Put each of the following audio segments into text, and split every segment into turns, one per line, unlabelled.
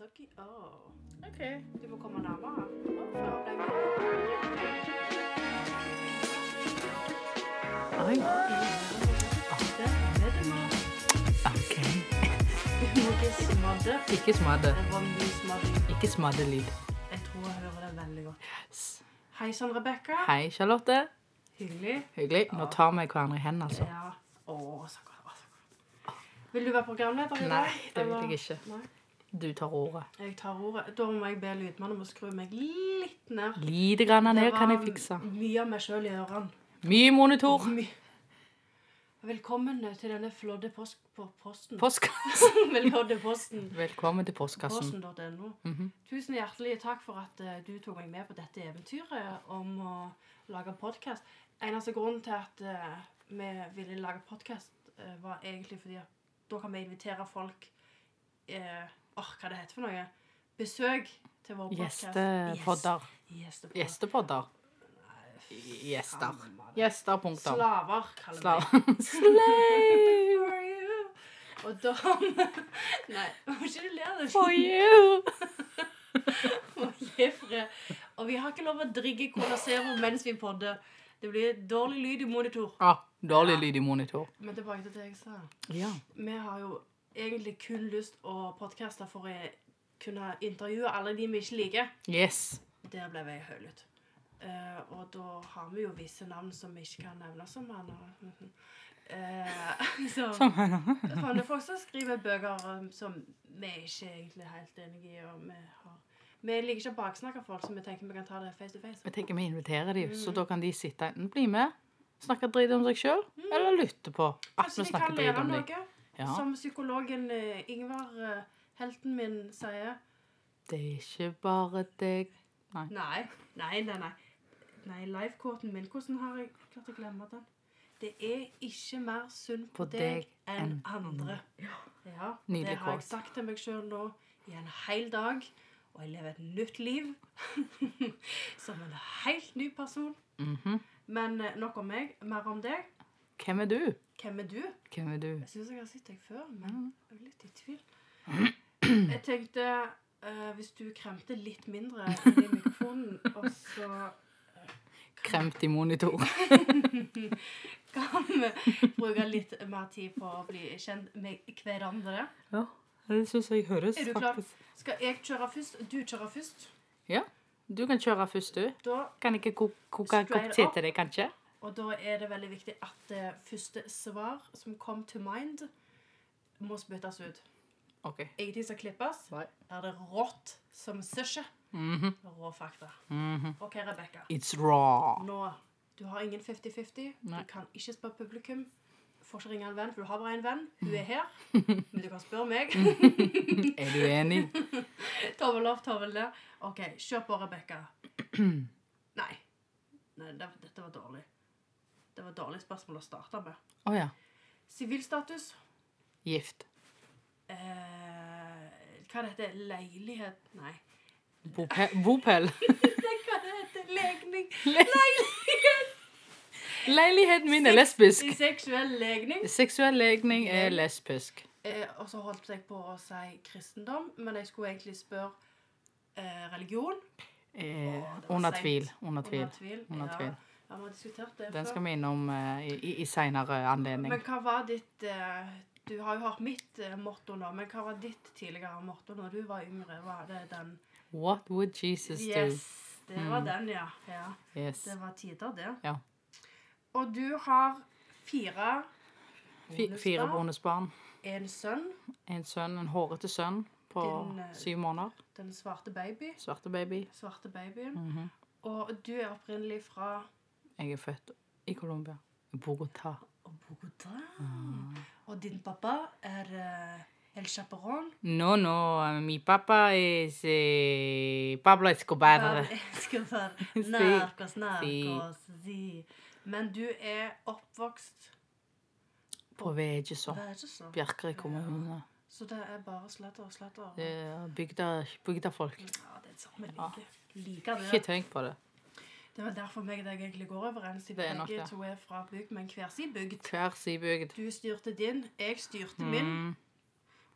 Okey- åh.
Okej.
Oh. Du får komma närmare.
Oi, ok.
Du må ikke smadre.
Ikke smadre.
Det var mye smadring.
Ikke smadrelyd.
Jeg tror jeg hører det veldig godt.
Yes.
Hei sann, Rebekka.
Hei, Charlotte.
Hyggelig.
Hyggelig. Nå tar vi hverandre i hendene, altså.
Ja. Åh, så godt. åh, så godt. Vil du være programleder i dag?
Nei, det vil
eller?
jeg ikke.
Nei.
Du tar ordet.
Jeg tar ordet. Da må jeg be lydmannen om å skru meg litt ned.
Lite grann ned
Det var
kan jeg fikse.
Mye av meg sjøl i ørene.
Mye monitor.
My- Velkommen til denne flodde post... På posten.
Postkassen.
Velkommen posten.
Velkommen til postkassen.
Posten.no.
Mhm.
Tusen hjertelig takk for at eh, du tok meg med på dette eventyret om å lage podkast. Eneste grunnen til at eh, vi ville lage podkast, var egentlig fordi at da kan vi invitere folk eh, Åh, hva det heter for noe? Besøk til vår podkast.
Gjestepodder.
Gjestepodder.
Gjestepodder. Gjester. Gjester, punktum.
Slaver, kaller vi
Slav.
det.
Slave
For you. Og da Nei, må ikke du le av det?
for you.
Og Jefre. Og vi har ikke lov å drikke Cola Zero mens vi podder. Det blir dårlig lyd i monitor.
Ah, dårlig lyd i monitor.
Men tilbake til det jeg sa.
Ja.
Vi har jo egentlig kun lyst å podcaste for å kunne intervjue alle de vi ikke liker.
Yes.
Der ble jeg høylytt. Eh, og da har vi jo visse navn som vi ikke kan nevne som han uh, så,
Som henne.
sånne folk som skriver bøker um, som vi ikke egentlig er helt enige i. Og vi, har, vi liker ikke å baksnakke folk, så vi tenker vi kan ta det face to face.
Jeg tenker vi inviterer dem, så da kan de sitte enten bli med, snakke dritt om seg sjøl, eller lytte på at
Kanskje vi
vi Ah, snakker
kan
dritt
lære
om dem.
noe?
Ja,
Som psykologen eh, Ingvar, eh, helten min, sier.
det er ikke bare deg.
Nei, nei, nei. Nei, nei livequoten min, hvordan har jeg klart å glemme den? Det er ikke mer synd på,
På
deg,
deg
enn
enn
andre. Ja,
Nydelig
Det har
quote.
jeg sagt til meg sjøl nå i en hel dag. Og jeg lever et nytt liv som en helt ny person.
Mhm.
Men eh, nok om meg. Mer om deg.
Hvem er du?
Hvem er du?
Hvem er du?
Jeg syns jeg har sett deg før, men jeg er litt i tvil. Jeg tenkte eh, hvis du kremte litt mindre i mikrofonen, og så
Kremt i monitor.
kan vi bruke litt mer tid på å bli kjent med hverandre.
Ja, det syns jeg høres
Er du klar? Skal jeg kjøre først? Du kjører først.
Ja. Du kan kjøre først, du.
Da,
Kan ikke ko- koke en kopp
Straight
te
up.
til deg, kanskje?
og da er det veldig viktig at det første svar som kom to mind, må spyttes ut.
OK.
Ingenting skal klippes.
Nei.
Er det rått som sushi?
Mhm.
Rå fakta.
Mhm.
OK, Rebekka.
It's raw.
Nå, du har ingen 50-50. Du
Nei.
kan ikke spørre publikum. Får ikke ringe en venn, for du har bare en venn. Hun er her. Men du kan spørre meg.
Er du enig?
tommel opp, tommel ned. OK, kjør på, Rebekka. Nei. Nei det, dette var dårlig. Det var et dårlig spørsmål å starte med.
Å ja.
Sivilstatus.
Gift.
Eh, hva det heter Leilighet Nei.
Bope- Bopel.
Hva det heter Legning.
Leiligheten min er lesbisk.
Seksuell legning.
Seksuell legning er lesbisk.
Eh, og så holdt jeg på å si kristendom, men jeg skulle egentlig spørre eh, religion.
Eh,
Åh, det var
under
seint.
tvil. Under tvil.
Under tvil.
Under tvil.
Ja, ja, vi har diskutert det
Den
før.
skal vi innom eh, i, i- i seinere anledning.
Men hva var ditt eh, Du har jo hørt mitt eh, motto nå, men hva var ditt tidligere motto når du var yngre? Var det den
What would Jesus
Yes. Det var den, ja. ja.
do? Yes.
Det var tider, det.
Mm. Ja.
Og du har fire
Fi- Fire bonusbarn.
En sønn.
En sønn, en hårete sønn på
Din, eh,
syv måneder.
Den svarte baby.
Svarte baby.
Svarte babyen.
Mhm.
Og du er opprinnelig fra
Jeg er født i Colombia. I Bogotá.
Bogotá.
Ah.
Og din pappa er eh, El Chaperón.
No, no, mi pappa es eh, Pablo Escobar.
Elsker for
Si.
narkos, narkos, si. Men du er oppvokst
På Vegeso.
Vær så snill.
Bjerkreim kommune.
Så det er bare sletter og sletter.
Det er bygda, bygdafolk.
Ja, det er det samme like. Liker
Ikke
det.
tenk på det.
Det var derfor meg og deg egentlig går overens.
Det er
Siden
nok
begge
det.
to er fra bygd, men hver sin bygd.
Hver sin bygd.
Du styrte din, jeg styrte min,
Mm.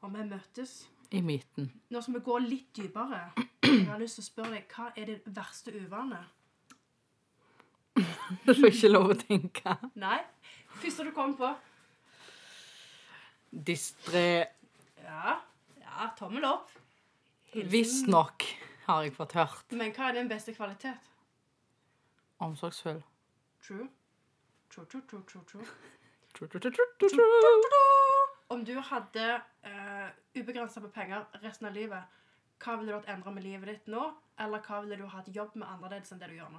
og vi møttes.
i midten.
Nå som vi går litt dypere, jeg har lyst til å spørre deg, hva er det verste uvanet?
Du får ikke lov å tenke.
Nei? Første du kom på?
Distré
Ja. Ja, tommel opp. Hilsen.
Visstnok, har jeg fått hørt.
Men hva er din beste kvalitet?
Omsorgsfull.
True. True, true, true, true, true.
Tru, tru, tru, tru, tru, tru.
Om du hadde uh, ubegrensa med penger resten av livet, hva ville du hatt endra med livet ditt nå? Eller hva ville du hatt jobb med annerledes enn det du gjør nå?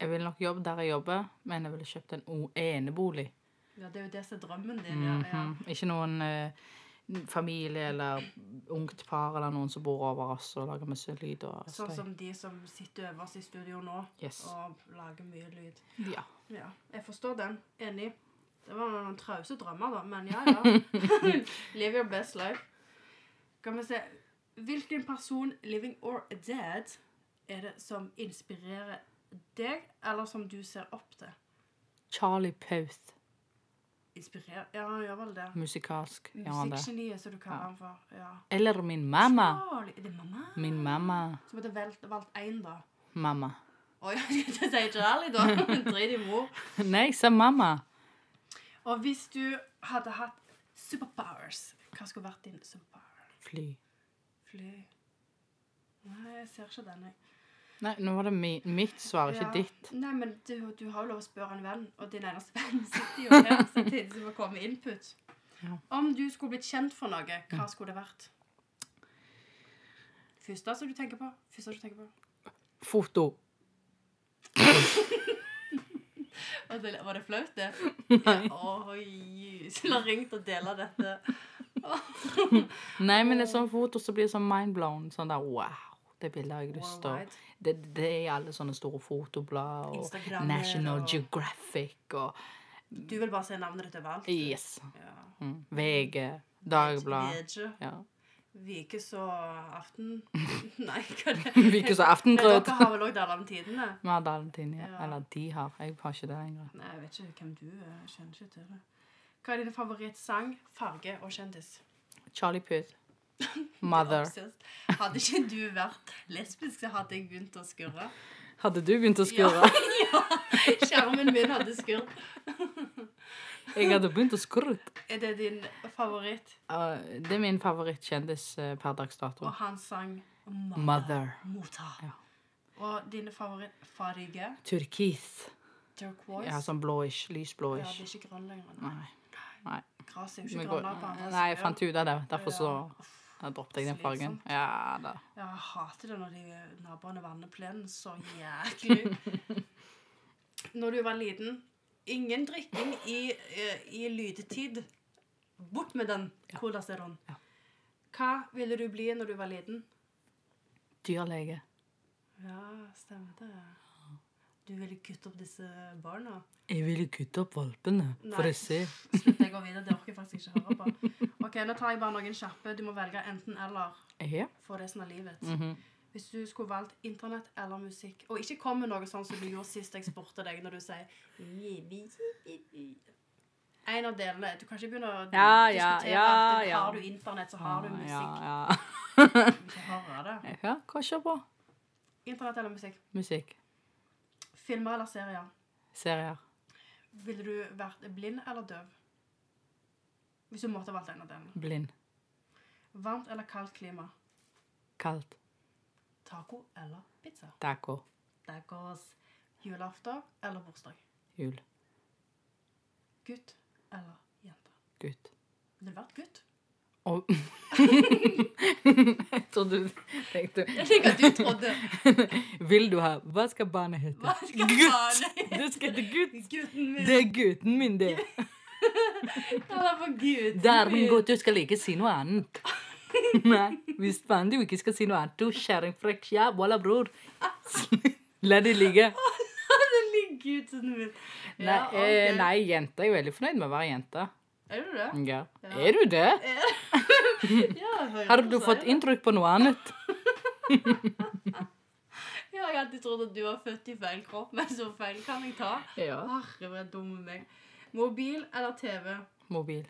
Jeg vil nok jobbe der jeg jobber, men jeg ville kjøpt en o- enebolig.
Ja, Det er jo det som er drømmen din. Ja, ja.
Mhm. Ikke noen eh, familie eller ungt par eller noen som bor over oss og lager masse lyd og
Sånn
støy.
som de som sitter øverst i studio nå
Yes.
og lager mye lyd.
Ja.
Ja, jeg forstår den. Enig. Det var noen trause drømmer, da, men ja, ja. Live your best life. Kan vi se Hvilken person, living or dead, er det som inspirerer deg, eller som du ser opp til?
Charlie Pauth,
Inspirerer Ja, han gjør vel det.
musikalsk. gjør han det.
Musikkgeniet, som du kaller han for. Ja.
Eller min mamma.
Charlie. Er det mamma?
Min mamma.
Som hadde valgt- valgt én, da.
Mamma.
Å ja, jeg skulle til å si Charlie, da. Drit i mor.
Nei, jeg sa mamma.
Og hvis du hadde hatt superpowers, hva skulle vært din superpower?
Fly.
Fly? Nei, jeg ser ikke den, jeg.
Nei, nå var det mi, mitt svar, ikke
Ja.
ditt.
Nei, men du, du har jo lov å spørre en venn, og din eneste venn sitter jo her samtidig som det kommer input.
Ja.
Om du skulle blitt kjent for noe, hva skulle det vært? Første som du tenker på? Første du tenker på?
Foto.
Og det, var det flaut, det?
Nei.
Oi, så la ringt og dele dette.
Nei, men et sånt foto så blir det sånn mindblown. Sånn der wow. Det bildet har jeg lyst til. å-
Worldwide.
Det, det er i alle sånne store fotoblad og
Instagrammer
National
og-
Geographic og
Du vil bare se navnet ditt overalt.
Yes.
Ja.
Mm. VG. Dagbladet.
Vedje.
Ja.
Vikes og aften... Nei, hva er det?
Vikes og
Nei,
Aftengrøt.
Dere har vel òg Dalantidene?
Vi har Dalentine.
Ja.
Eller de har. Jeg har ikke det lenger.
Nei, jeg vet ikke hvem du er. Jeg kjenner ikke til det. Hva er din favorittsang, farge og kjendis?
Charlie Puth. Mother.
Obsessed. Hadde ikke du vært lesbisk, så hadde jeg begynt å skurre.
Hadde du begynt å skurre?
Ja, skjermen min hadde skurr.
Jeg hadde begynt å skurre.
Er det din favoritt?
Uh, det er min favorittkjendis uh, per dags dato.
Og han sang
Mother.
Mota.
Ja.
Og din favorittfarge?
Turkis.
Turquoise?
Ja, sånn blåish.
Ja, det
Lysblåish.
er ikke grønn lenger. Nei.
Nei. Nei.
Gras er jo
Vi
ikke
går-
grønna på andre
Nei, jeg fant ut av det. Derfor så
Uff,
jeg droppet jeg den fargen.
Slitsomt.
Ja da.
Jeg hater det når de naboene vanner plenen så jæklig. når du var liten Ingen drikking i, eh, i lydetid. Bort med den. Hvordan ser hun?
Ja.
Hva ville du bli når du var liten?
Dyrlege.
Ja, stemmer det. Du ville kutte opp disse barna?
Jeg ville kutte opp valpene
Nei.
for å se.
Slutt, jeg går videre. Det orker jeg faktisk ikke høre på. Ok, Nå tar jeg bare noen kjappe. Du må velge enten-eller
Ja.
for resten av livet.
Mhm.
Hvis du skulle valgt internett eller musikk Og ikke kom med noe sånn som du gjorde sist jeg spurte deg, når du sier En av delene Du kan ikke begynne å
Ja,
diskutere
ja, ja,
at
ja. Ah,
har du internett, så har du musikk.
Ja,
Du kan ikke høre det.
ja. ja hva kjør på?
Internett eller musikk?
Musikk.
Filmer eller serier?
Serier.
Ville du vært blind eller døv? Hvis du måtte ha valgt en av delene.
Blind.
Varmt eller kaldt klima?
Kaldt.
Taco eller pizza?
Taco.
Der går oss. Julaften eller bursdag?
Jul.
Gutt eller jente?
Gutt.
Ville du vært gutt?
Og Jeg trodde du tenkte
Jeg liker at du trodde
Vil du ha Hva skal barnet hete?
Hva skal
Gutt.
barnet
Det skal hete gutt.
Gutten min.
Det er gutten min, det.
Han er for gutten
Der, min
min.
gutt, du skal ikke si noe annet. Nei, hvis faen du ikke skal si noe annet, du kjerringfrekk, ja, walla, bror. La det ligge.
Den lille gutten min.
Nei,
Ja,
eh,
ok.
nei, Mm. jente. Jeg er veldig fornøyd med å være jente.
Er du det?
Ja.
Ja.
Er du det?
Ja, jeg hører
Har
hva
du
sier
fått
det.
inntrykk på noe annet?
Ja, jeg har alltid trodd at du var født i feil kropp, men så feil kan jeg ta.
Ja.
Herre, hvor dum meg. Mobil eller TV?
Mobil.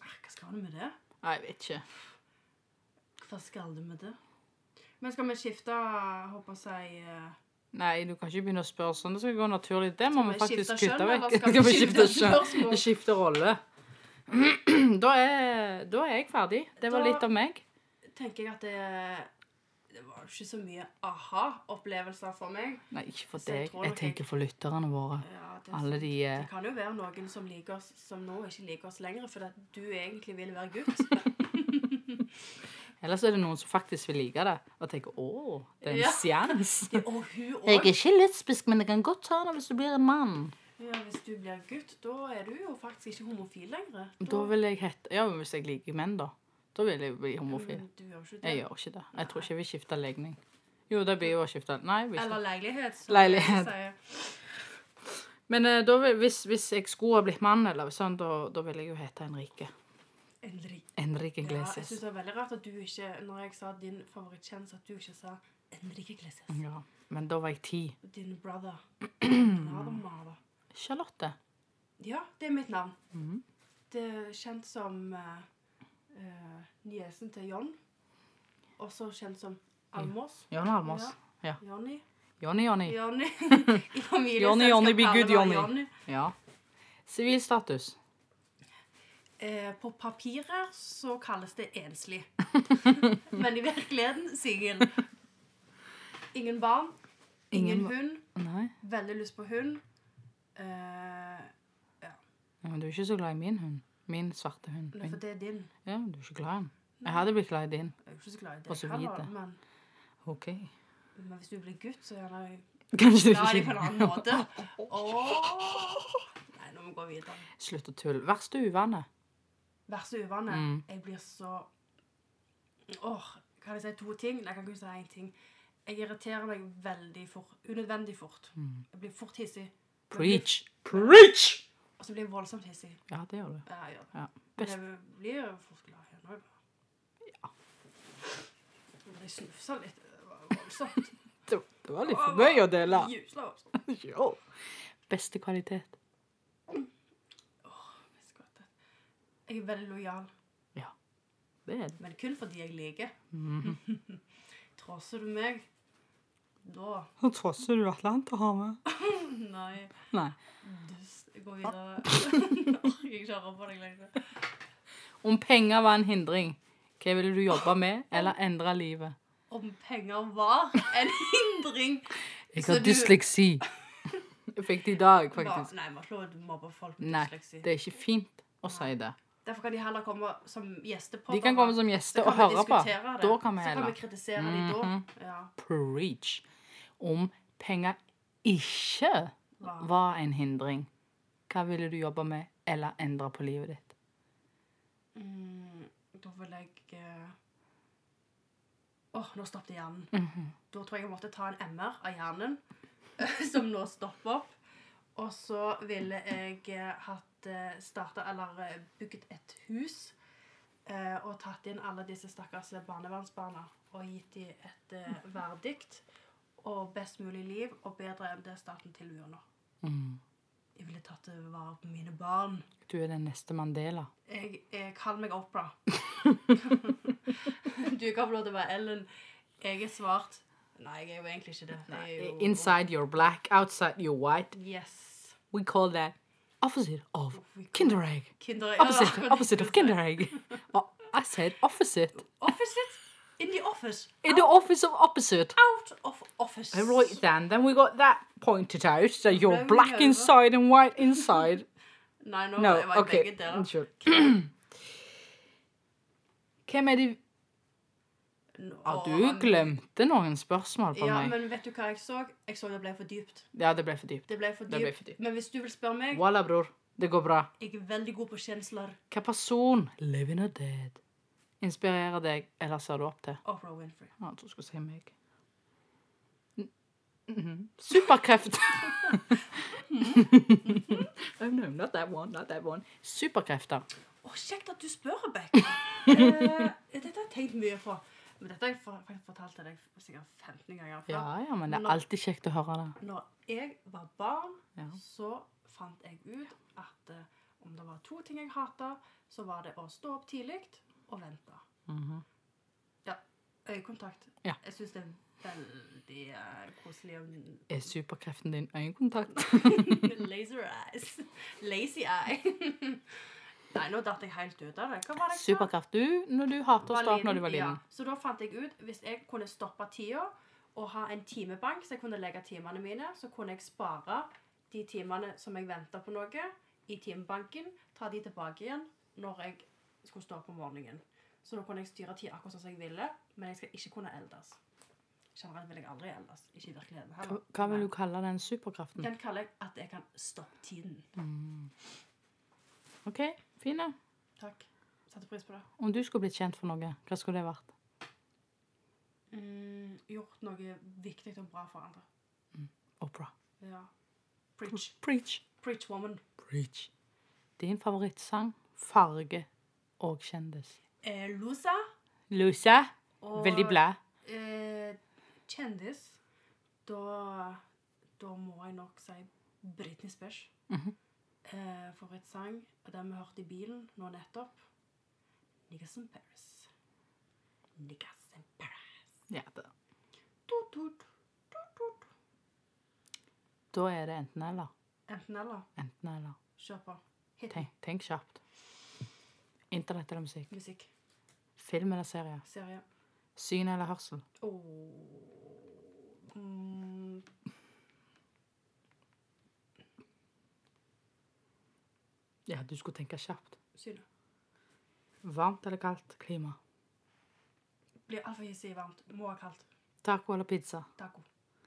Ah, Hva skal du med det?
Nei, jeg vet ikke.
Hva skal du med det? Men skal vi skifte håper jeg eh,
Nei, du kan ikke begynne å spørre sånn. Det skal gå naturlig. Det må
Skal
vi
vi
faktisk
skifte
kutte
skjønn,
vekk.
eller skal vi skifte spørsmål?
Skifte rolle. Da er, da er jeg ferdig. Det var
Da-
litt om meg.
Tenker jeg at det Det var jo ikke så mye aha-opplevelser for meg.
Nei, ikke for
Så jeg
deg.
tror
Jeg
nok jeg-
tenker for lytterne våre.
Ja, det,
Alle de eh,
det kan jo være noen som liker oss som nå ikke liker oss lenger, fordi at du egentlig vil være gutt.
Ellers er det noen som faktisk vil like det, og tenker 'Å, det er en
Ja.
seans'.
Og hun òg.
ikke lesbisk, men jeg kan godt ta det hvis du blir en mann.
Ja, hvis du blir gutt, da er du jo faktisk ikke homofil lenger.
Da vil jeg hete Ja, men hvis jeg liker menn, da. Da vil jeg bli homofil.
Men Mm, Du gjør jo ikke det.
Jeg gjør ikke det. Jeg tror ikke jeg vil skifte legning. Jo, det blir jo å skifte Nei. jeg vil ikke.
Eller leilighet. som
Leilighet.
jeg sier.
Men eh, da, vil- hvis, hvis jeg skulle ha blitt mann, eller sånn, da, da ville jeg jo hete Henrike.
Endelig. Ja,
Henrike
jeg
Iglesias.
synes det var veldig rart at du ikke, når jeg sa din favorittkjendis, at du ikke sa Enrique Iglesias.
Ja, men da var jeg ti.
Din brother. Brother mother.
Charlotte.
Ja, det er mitt navn.
Mhm.
Det er kjent som eh, eh, niesen til John. Også kjent som Almås.
Jon Almaas.
Jonny.
Jonny, Jonny.
Jonny. I familien
Jonny, Jonny, be good, Jonny.
Jonny.
Ja. Sivil status.
Eh, på papiret så kalles det enslig. Men i virkeligheten singel. Ingen barn, ingen,
Ingen ba-
hund,
Nei.
veldig lyst på hund. Eh,
Ja, men du er ikke så glad i min hund. Min svarte hund.
nei, for
Min.
det er din.
Ja, du er ikke glad i den. Jeg hadde blitt glad i din.
Jeg er jo ikke så glad i
Og
deg
så
heller,
videre.
men,
OK.
men hvis du blir gutt, så er jeg
Kanskje du
glad i deg på en
ikke
annen måte. Åh. Nei, nå må vi gå videre.
Slutt å tulle. Verste uvane.
Vær så uvane.
Mm.
Jeg blir så Åh, kan jeg si to ting? Nei, jeg kan ikke si én ting. Jeg irriterer meg veldig fort. Unødvendig fort. Jeg blir fort hissig. Jeg blir-
Preach. Preach!
Og så blir jeg voldsomt hissig.
Ja, det gjør du.
Ja, jeg gjør det.
Ja.
Men
Best.
Jeg blir jo fort glad igjen òg. Ja. Jeg snufsa litt. Det var voldsomt.
Det det var litt for mye å dele.
Jusla voldsomt.
Jo. Beste kvalitet.
Jeg skal godt det. Jeg er veldig lojal,
Det er det.
men kun fordi jeg liker.
Mhm.
Trosser du meg, da
Nå trosser du Atlanterhavet.
Nei.
Nei.
Dust. Gå videre. Jeg orker ikke høre på deg lenger.
Om penger var en hindring, hva ville du jobbe med eller endre livet?
Om penger var en hindring
Jeg
Så
har
du-
dysleksi. Jeg fikk det i dag,
Hva-
faktisk.
Nei, man slår mobber folk med
Nei,
dysleksi.
det er ikke fint å si det.
Derfor kan de heller komme som gjester på
De kan komme som gjester og høre på. Da kan vi
Så kan
heller
vi kritisere dem
Mhm.
da. Ja,
preach om penger ikke
hva?
var en hindring. Hva ville du jobbe med eller endre på livet ditt?
Mm, da vil jeg eh, Åh, nå stoppet hjernen. Da tror jeg jeg måtte ta en MR av hjernen, eh, som nå stopper opp. Og så ville jeg eh, hatt eh, starta eller eh, bygget et hus eh, og tatt inn alle disse stakkars barnevernsbarna og gitt dem et eh, verdikt og best mulig liv og bedre enn det staten tilbyr nå.
Mm.
Jeg ville tatt eh, vare på mine barn.
Du er den neste Mandela.
Jeg, jeg kaller meg Opera. du kan få lov til å være Ellen. Jeg er svart. Nei, jeg er jo egentlig ikke det. Jeg er jo
Inside you're black, outside you're white.
Yes.
We call that opposite of
Oh, We call-
kinder egg.
Kinder Ja, det var akkurat det
Opposite, opposite of
jeg skulle
kinder egg. Well, I said opposite.
si. Opposite? In the office.
In the office of opposite.
Out of office.
All right then, then we got that pointed out that you're
Rolling
black
over.
inside and white inside.
Nei, nå
No,
var jeg
ok.
begge deler.
Unnskyld. Hvem er de
Nå-
Ja, du glemte noen spørsmål på
Ja,
meg.
men vet du hva jeg så? Jeg så det ble for dypt.
Ja, det ble for dypt.
Det ble for
Det ble for
dypt.
dypt.
Men hvis du vil spørre meg,
Walla, bror. Det går bra.
jeg er veldig god på kjensler.
Hva person, living or dead, inspirerer deg, eller ser du opp til?
Opera Winfrey.
Ja, jeg tror du skulle si meg. Mm, mhm. Superkreft. oh, no, Mm-hmm. not that one, not that one. Superkrefter.
Å, kjekt at du spør, Rebekka. Eh, dette har jeg tenkt mye på. Men dette har jeg fa- faktisk fortalt til deg sikkert 15 ganger før.
Ja, ja, men det
Nå-
er alltid kjekt å høre det.
Når jeg var barn,
Ja.
så fant jeg ut at eh, om det var to ting jeg hata, så var det å stå opp tidlig og vente.
Mhm.
Ja. Øyekontakt.
Ja.
Jeg syns det er veldig eh, koselig og
Er superkreften din øyekontakt?
Laser eyes. Lazy eye. Nei, nå datt jeg helt ut av det. Hva var det jeg sa?
Superkraft du når du hater å
Var
starte når
liten,
du var liten.
Ja. Så da fant jeg ut hvis jeg kunne stoppe tida og ha en timebank, så jeg kunne legge timene mine, så kunne jeg spare de timene som jeg venta på noe, i timebanken, ta de tilbake igjen når jeg skulle stå opp om morgenen. Så da kunne jeg styre tida akkurat sånn som jeg ville, men jeg skal ikke kunne eldes. Generelt vil jeg aldri eldes. Ikke i virkeligheten
Hva,
heller.
hva vil du kalle den superkraften?
Den kaller jeg at jeg kan stoppe tiden.
OK, fin. ja.
Takk. Setter pris på det.
Om du skulle blitt kjent for noe, hva skulle det vært?
Mm, gjort noe viktig og bra for andre.
Opera.
Ja. Preach.
Preach.
Preach woman.
Preach. Din favorittsang, farge og kjendis.
Eh, Lusa
Lucia.
og
Veldig blæ.
Eh, kjendis. Da, da må jeg nok si Britney Spears.
Mhm.
eh, Favorittsang. og Den vi hørte i bilen nå nettopp. Niggas in Paris. Niggas in Paris.
Ja, da.
Tut, tut, tut, tut.
da er det enten-eller.
Enten eller.
Enten-eller.
Kjør på. Hit
Tenk, tenk kjapt. Internett eller musikk?
musikk.
Film eller serie?
Serie.
Syn eller hørsel?
Åh. Mm.
Ja, du skulle tenke kjapt.
Synet.
Varmt eller kaldt? Klima.
Blir altfor hissig varmt. Må ha kaldt.
Taco eller pizza?
Taco.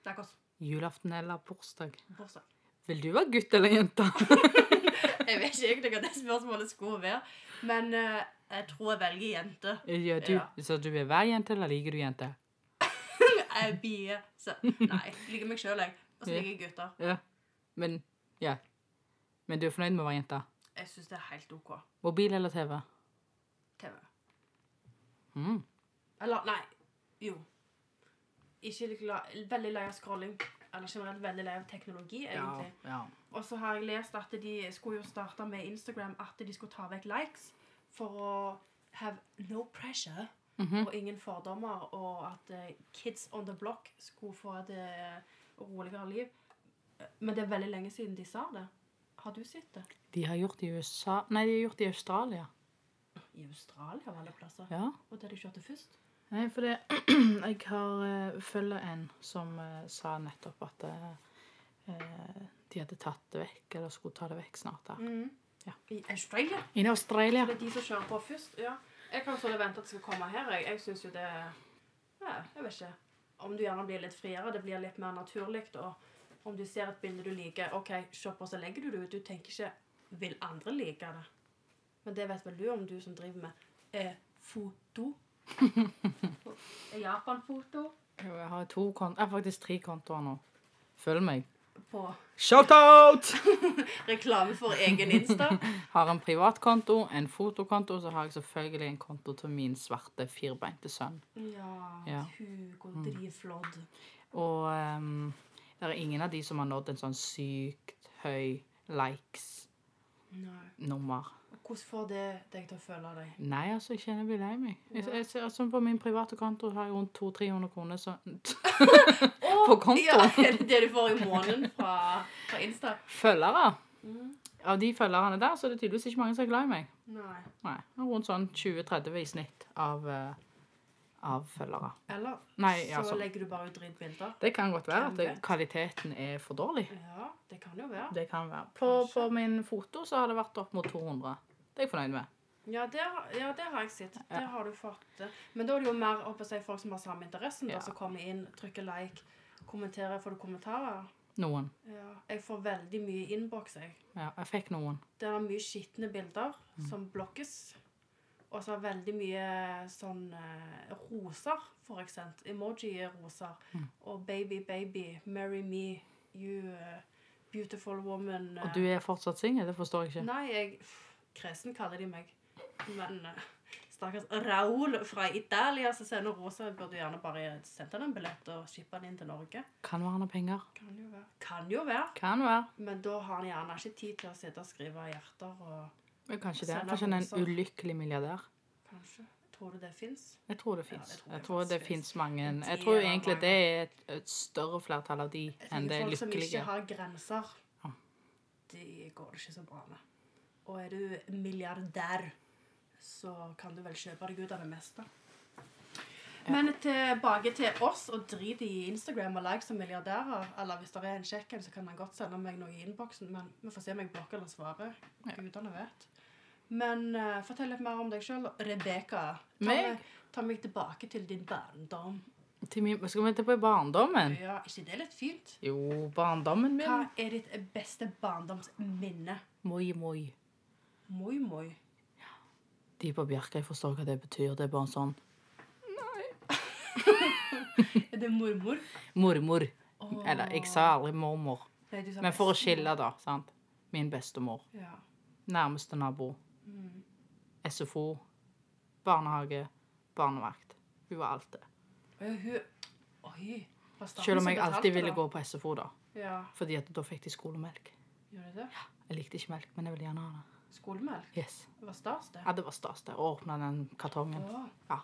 Tacos.
Julaften eller bursdag?
Bursdag.
Vil du være gutt eller jente?
Jeg vet ikke egentlig hva det spørsmålet skulle være, men eh, jeg tror jeg velger jente.
Ja, du,
Ja.
Så du vil være jente, eller liker du jente?
Jeg blir så Nei, jeg liker meg sjøl, jeg. Og så
Ja.
liker jeg gutter.
Ja. Men ja. Men du er fornøyd med å være jente?
Jeg syns det er helt OK.
Mobil eller TV?
TV.
Mm.
Eller nei. Jo. Ikke like la, veldig lei av scrolling. Eller generelt veldig lei av teknologi, egentlig.
ja.
Og så har jeg lest at de skulle jo starte med Instagram at de skulle ta vekk likes for å have no pressure og ingen fordommer, og at eh, kids on the block skulle få et eh, roligere liv. Men det er veldig lenge siden de sa det. Har du sett det?
De har gjort det i USA Nei, de har gjort det i Australia.
I Australia av alle plasser.
Ja.
Og der de kjørte først.
Nei, for det Jeg har eh, følger en som eh, sa nettopp at eh, de hadde tatt det vekk, eller skulle ta det vekk snart. der. Ja.
I Australia.
I Australia.
Det er de som kjører på først. Ja. Jeg kan sånn vente at det skal komme her. Jeg, jeg syns jo det ja, Jeg vet ikke. Om du gjerne blir litt friere, det blir litt mer naturlig. Og om du ser et bilde du liker, OK, se på, så legger du det ut. Du tenker ikke Vil andre like det? Men det vet vel du om du som driver med eh, foto? Japan-foto
Jo, Jeg har to kont jeg har faktisk tre kontoer nå. Følg meg.
på
Shout-out!
reklame for egen Insta.
Har en privatkonto, en fotokonto, og så har jeg selvfølgelig en konto til min svarte firbeinte sønn.
Ja,
Ja.
Hugo Drivflod.
Og ehm, det er ingen av de som har nådd en sånn sykt høy likes-nummer.
Mm. Nei. Hvordan får det deg til å føle deg?
Nei, altså, jeg kjenner jeg blir lei meg. Jeg, jeg, ser- altså, på min private konto har jeg rundt 200-300 kroner, så
Åh,
På konto.
Ja, er det det du får i måneden fra, fra Insta?
følgere.
Mm.
Av de følgerne der, så er det tydeligvis ikke mange som er glad i meg.
Nei.
Nei, jeg har rundt sånn 20-30 i snitt av, eh, av følgere.
Eller
Nei,
så
ja, sånn.
legger du bare ut drittbilder.
Det kan godt være
Hvem
at det,
vet?
kvaliteten er for dårlig.
Ja, det kan jo være.
Det kan være. På, på min foto så har det vært opp mot 200. Det er jeg fornøyd med.
Ja, det, har- ja, det har jeg sett. Det har du fått. eh. Men da er det jo mer oppe å si folk som har samme interessen,
Ja.
da, som kommer inn, trykker like, kommenterer, får du kommentarer?
Noen.
Ja. Jeg får veldig mye innboks, jeg.
Ja, jeg fikk noen.
Det er mye skitne bilder
Mm.
som blokkes. Og så er veldig mye sånn eh, roser, for eksempel. Emoji-roser.
Mm.
Og baby, baby, marry me, you eh, beautiful woman. eh.
Og du er fortsatt singel? Det forstår jeg ikke.
Nei, jeg pff, Kresen kaller de meg. Men eh, stakkars Raoul fra Italia som sender roser, burde gjerne bare sendt han en billett og shippe han inn til Norge.
Kan være han har penger.
Kan jo være. Kan jo være.
Kan være.
Men da har han gjerne ikke tid til å sitte og skrive hjerter og
Men kanskje det.
Sender
Kanskje han er
roser.
en ulykkelig milliardær.
Kanskje. Tror du det fins?
Jeg tror det
Ja,
fins.
jeg tror
jeg
det
tror det
faktisk
fins mange
Men
Jeg
de
tror
er
jo egentlig
mange.
det er et, et større flertall av de
Jeg
enn det
tenker Folk som ikke
lykkelige.
har grenser,
Ja.
de går det ikke så bra med. Og er du milliardær, så kan du vel kjøpe deg ut av det meste. Men tilbake til oss, og drit i Instagram og like som milliardærer. Eller hvis det er en kjekk en, så kan han godt sende meg noe i innboksen. Men vi får se om jeg blokker eller svarer.
Ja.
Gudene vet. Men eh, fortell litt mer om deg sjøl. Rebekka, ta,
Meg?
meg- ta meg tilbake til din barndom.
Til min, skal vi tilbake til barndommen?
Ja, ikke det er litt fint?
Jo, barndommen
Hva
min.
er ditt beste barndomsminne?
Moi, moi.
Moi, moi.
De på Bjerkreim forstår hva det betyr. Det er bare en sånn
Er det mormor?
mormor.
Åh.
Eller jeg sa aldri mormor.
Nei, du sa
Men for å
bestemor.
skille, da. sant? Min bestemor.
Ja.
Nærmeste nabo.
Mm.
SFO. Barnehage. Barnevakt. Hun var alt det.
Og ja, hun Oi. var staten
Selv om
som
jeg
betalte,
alltid ville
da?
gå på SFO, da.
Ja.
Fordi at da fikk de skolemelk.
Gjorde det?
Jeg likte ikke melk, men jeg ville gjerne ha det.
Skolemelk?
Yes.
Det var stas, det.
Ja, det var stas det, å åpne den kartongen.
Åh.
Ja.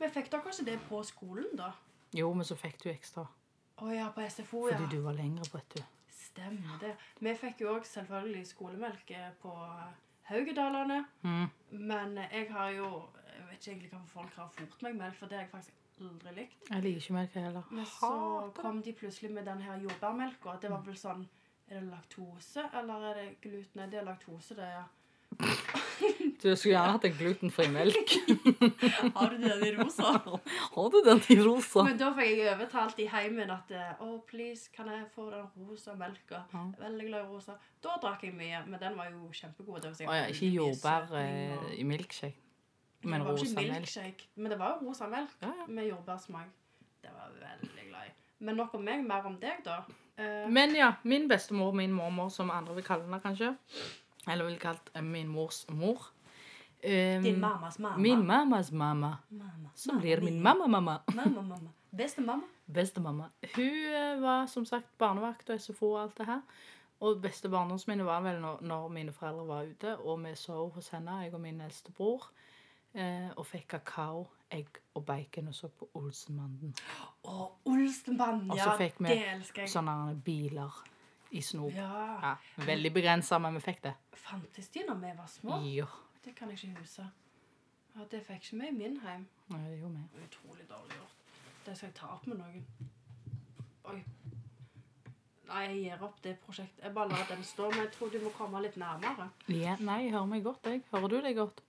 Men fikk dere ikke det på skolen, da?
Jo, men så fikk du ekstra.
Å ja, på SFO, ja.
Fordi du var lengre, vet du.
Stemmer det. Vi fikk jo òg selvfølgelig skolemelk eh, på Haugedalene.
Mm.
Men eh, jeg har jo Jeg vet ikke egentlig hvorfor folk har fort meg melk, for det har jeg faktisk aldri likt.
Jeg liker ikke melk heller.
Men så
Hater det.
kom de plutselig med den her jordbærmelka. at Det var vel sånn Er det laktose, eller er det gluten? Nei, det er laktose, det, ja.
Du skulle gjerne hatt en glutenfri melk.
Har du den i rosa?
Har du den i rosa?
Men da fikk jeg overtalt i heimen at eh, Å, please, kan jeg få den rosa melka?
Ja.
Jeg er Veldig glad i rosa. Da drakk jeg mye, men den var jo kjempegod. Det var
Å ja, ikke
veldig mye
jordbær
søtning
eh,
og-
i milkshake. Men
Det var ikke
rosa melk.
milkshake, Men det var jo rosa melk
Ja, ja.
med jordbærsmak. Det var jeg veldig glad i. Men nok om meg, mer om deg, da. Eh,
Men ja, min bestemor, min mormor, som andre vil kalle henne kanskje, eller vil kalt eh, min mors mor. Um,
din mammas mamma.
Min mammas mamma.
mamma.
Som blir min mamma, mamma.
Mamma, mamma. Bestemamma.
Bestemamma. Hun eh, var som sagt barnevakt og SFO og alt det her. Og beste barndomsminne var vel når, når mine foreldre var ute, og vi sov hos henne, jeg og min eldste bror, eh, og fikk kakao, egg og bacon og så på Olsenmannen.
Og Olsenbanden,
Og
ja.
så fikk vi
det elsker jeg.
Sånne her biler i snop.
Ja.
Ja, veldig begrensa, men vi fikk det.
Fantes de når vi var små?
Ja.
Det kan jeg ikke huske. Ja, det fikk ikke vi i min heim.
Ja, det gjorde vi.
Utrolig dårlig gjort. Det skal jeg ta opp med noen. Oi. Nei, jeg gir opp det prosjektet. Jeg bare lar den stå, men jeg tror du må komme litt nærmere.
Ja, nei, jeg hører meg godt, jeg. Hører du deg godt?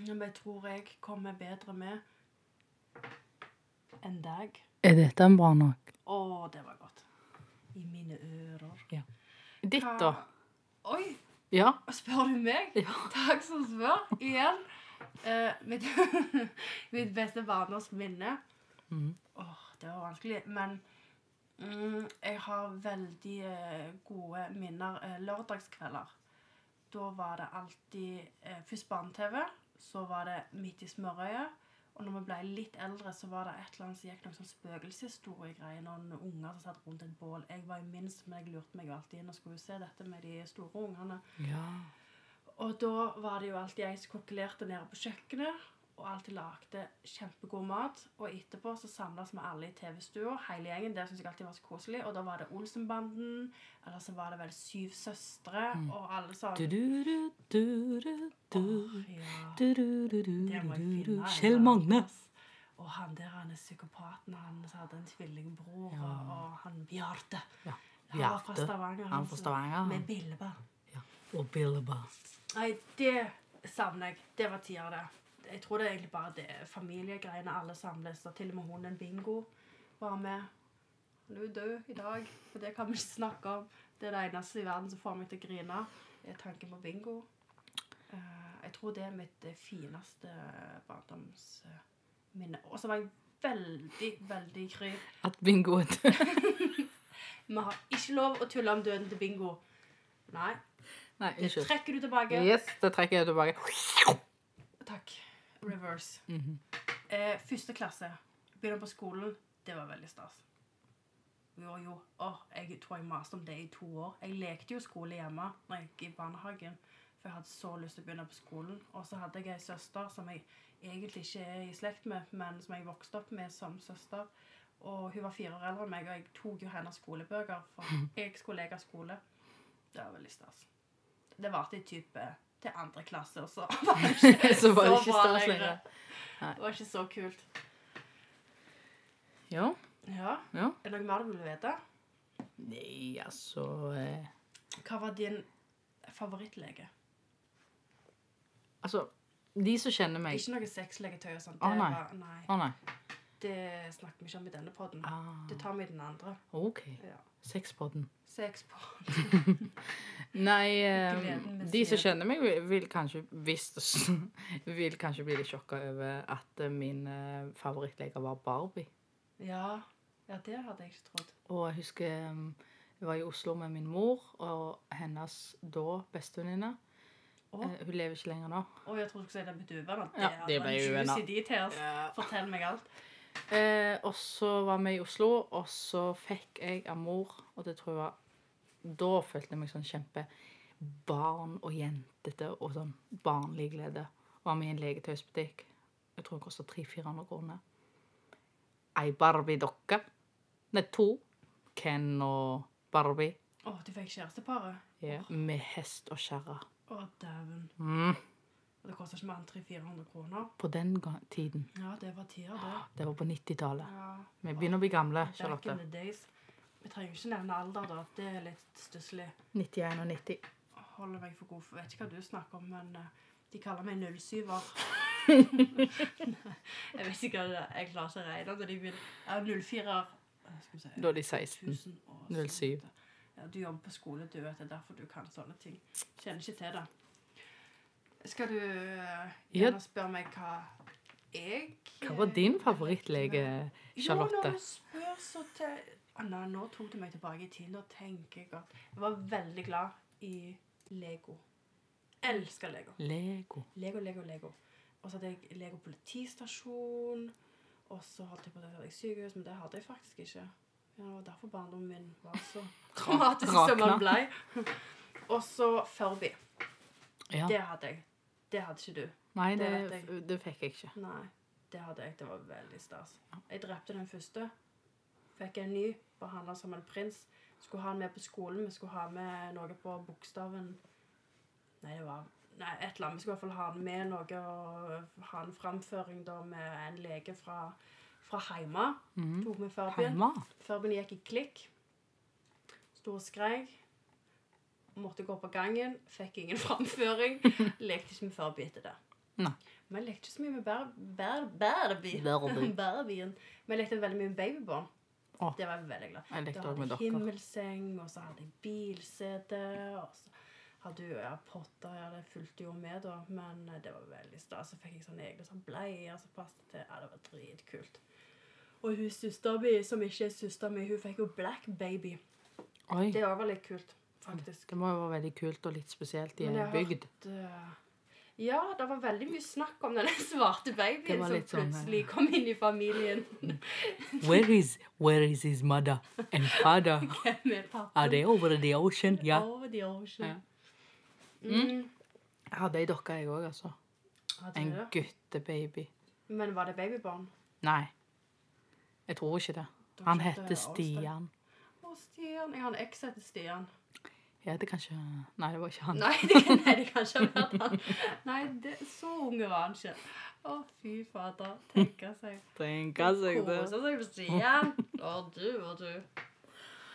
Ja, Men jeg tror jeg kommer bedre med enn deg.
Er dette en bra nok?
Å, det var godt. I mine ører.
Ditt, da?
Oi,
Ja.
spør du meg?
ja.
Takk som spør. Igjen. Eh, mitt, mitt beste barndomsminne
Mhm.
Åh, Det var vanskelig, men mm, jeg har veldig eh, gode minner eh, lørdagskvelder. Da var det alltid eh, først barne-TV, så var det Midt i smørøyet. Og når vi ble litt eldre, så var det et eller annet som gikk noen sånn spøkelseshistoriegreier. Noen unger som satt rundt et bål. Jeg var jo minst, men jeg lurte meg jo alltid inn og skulle se dette med de store ungene.
ja.
Og da var det jo alltid jeg som kokkelerte nede på kjøkkenet, og alltid lagde kjempegod mat. Og etterpå så samles vi alle i TV-stua, hele gjengen. Det syns jeg alltid var så koselig. Og da var det Olsenbanden, eller så var det vel Syv søstre, og alle sa
Mm. Du, du, du, du, du, du.
«Åh, ja,
Du, du, du, du,
det må jeg
du, du.
finne.
Kjell Magne.
Og han der han er psykopaten, han som hadde en tvillingbror,
Ja.
og han Bjarte.
Ja,
Han var fra
Bjarte.
Stavanger.
Han fra Stavanger.
Med billebær.
Ja. Og Billeba.
Nei, det savner jeg. Det var tida, det. Jeg tror det er egentlig bare det familiegreiene alle samles. Og til og med hunden Bingo var med. Han er jo død i dag, og det kan vi ikke snakke om. Det er det eneste i verden som får meg til å grine, er tanken på bingo. Eh, jeg tror det er mitt eh, fineste barndomsminne. Og så var jeg veldig, veldig kry.
At bingoen
Vi har ikke lov å tulle om døden til bingo. Nei.
Nei,
Det
unnskyld.
trekker du tilbake.
Yes, det trekker jeg tilbake.
Takk. Reverse.
Mhm.
eh, første klasse. Begynner på skolen. Det var veldig stas. Jo, jo. Åh, jeg tror jeg maste om det i to år. Jeg lekte jo skole hjemme når jeg gikk i barnehagen. For jeg hadde så lyst til å begynne på skolen. Og så hadde jeg ei søster som jeg egentlig ikke er i slekt med, men som jeg vokste opp med som søster. Og hun var fire år eldre enn meg, og jeg tok jo hennes skolebøker, for jeg skulle leke skole. Det var veldig stas. Det varte i type til andre klasse, og så var det ikke
Så var det ikke
bra
stas lenger. Nei.
Det var ikke så kult.
Ja.
Ja,
ja.
er det noe mer du vil vite?
Nei, altså eh,
Hva var din favorittlege?
Altså, de som kjenner meg
Ikke noe sexlegetøy og sånt.
Å,
det
nei.
var- nei.
Å, nei.
Det snakker vi ikke om i denne podden.
Ah,
Det tar vi i den andre.
OK.
Ja.
Sexpodden.
Sex på
Nei,
Gleden
eh,
ved
de
siden.
som kjenner meg, vil, vil kanskje visst, vil kanskje bli litt sjokka over at eh, min eh, favorittleker var Barbie.
Ja. ja, det hadde jeg ikke trodd.
Og jeg husker eh, jeg var i Oslo med min mor og hennes da bestevenninne.
Å,
Eh, Hun lever ikke lenger nå.
å, jeg trodde du skulle si det ble duven. at
Ja,
det
det
hadde
ble
en
duven,
juicy details.
Ja.
Fortell meg alt.
Eh, og så var vi i Oslo, og så fikk jeg av mor, og det tror jeg var Da følte jeg meg sånn kjempe barn og jentete og sånn barnlig glede. Var med i en leketøysbutikk. Jeg tror den kosta 300-400 kroner. Ei Barbie-dokke. Nei, to. Ken og Barbie.
Å, du fikk kjæresteparet?
Ja, Med hest og kjerre.
Å, dæven.
Mm.
Og Det koster ikke mer enn 300-400 kroner.
På den ga- tiden.
Ja, det var tider, det.
Det var på 90-tallet.
Ja.
Vi begynner å bli gamle,
Back
Charlotte.
in the days. Vi trenger jo ikke nevne alder, da. Det er litt stusslig.
91 og 90.
Holder meg for god for Vet ikke hva du snakker om, men eh, de kaller meg 07-er. jeg vet ikke hva det er. Jeg klarer ikke å regne når de begynner. Ja, 04-er. Eh, Skal vi se.
Da er de 16.
1007.
07.
Ja, du jobber på skole, du vet det er derfor du kan sånne ting. Kjenner ikke til det. Skal du eh,
Ja.
gjerne spørre meg hva jeg eh,
Hva var din favorittlege,
Jo,
Charlotte?
når du spør så til Anna, nå tok du meg tilbake i tid. Nå tenker jeg at jeg var veldig glad i Lego. Elsker Lego.
Lego.
Lego, Lego, Lego. Og så hadde jeg Lego politistasjon. Og så holdt jeg på at jeg hadde sykehus, men det hadde jeg faktisk ikke. Ja, det var derfor barndommen min var så traumatisk som
rakna.
han blei. Og så Furby.
Ja.
Det hadde jeg. Det hadde ikke du.
Nei, det,
det vet
det fikk jeg ikke.
Nei, det hadde jeg. Det var veldig stas. Jeg drepte den første. Fikk en ny. Behandla som en prins. Skulle ha han med på skolen. Vi skulle ha med noe på bokstaven Nei, det var Nei, et eller annet. Vi skulle i hvert fall ha han med noe og ha en framføring da med en lege fra, fra heima.
Mhm.
Tok med Fabien.
Hjemme?
Furben gikk i klikk. Sto og skreik. Måtte gå på gangen. Fikk ingen framføring. Lekte ikke med Furby etter det.
Nei.
Men jeg lekte ikke så mye med bær- bær- bærbien.
Bærbien.
Bærbien. Men jeg lekte veldig mye med babybarn.
Å.
Det var jeg veldig glad i.
Jeg
Da
lekte også
hadde jeg
med dere.
himmelseng, og så hadde jeg bilsete. Og så hadde jeg ja, potter. Ja, det fulgte jo med, da. Men eh, det var veldig stas. Så fikk jeg sånne egne sånn bleier som passet til. Ja, det var dritkult. Og hun søsteren min, som ikke er søsteren min, hun fikk jo Black Baby.
Oi.
Det var veldig kult, faktisk.
Det må jo være veldig kult og litt spesielt i
Men
en
jeg har
bygd.
hørt, eh, Ja, det var veldig mye snakk om denne svarte
Det
babyen
var
som
litt sånn, eh,
plutselig kom inn i familien.
Where is, where is his mother and father?
med pappa.
they over the ocean?
Over the ocean. Mm.
Jeg hadde ei dokke, jeg òg, altså.
Hadde
En
du det?
guttebaby.
Men var det babybarn?
Nei. Jeg tror ikke det.
Da
Han
skjønte
heter
jeg
Stian.
avstand. Å, Stian. Jeg har en eks heter Stian.
Jeg heter kanskje Nei, det var ikke han.
Nei, det, nei, det kan ikke ha vært han. Nei, det, så unge var han ikke. Å, fy fader. Tenke seg.
Tenk
Kose seg med Stian. Å, du og du.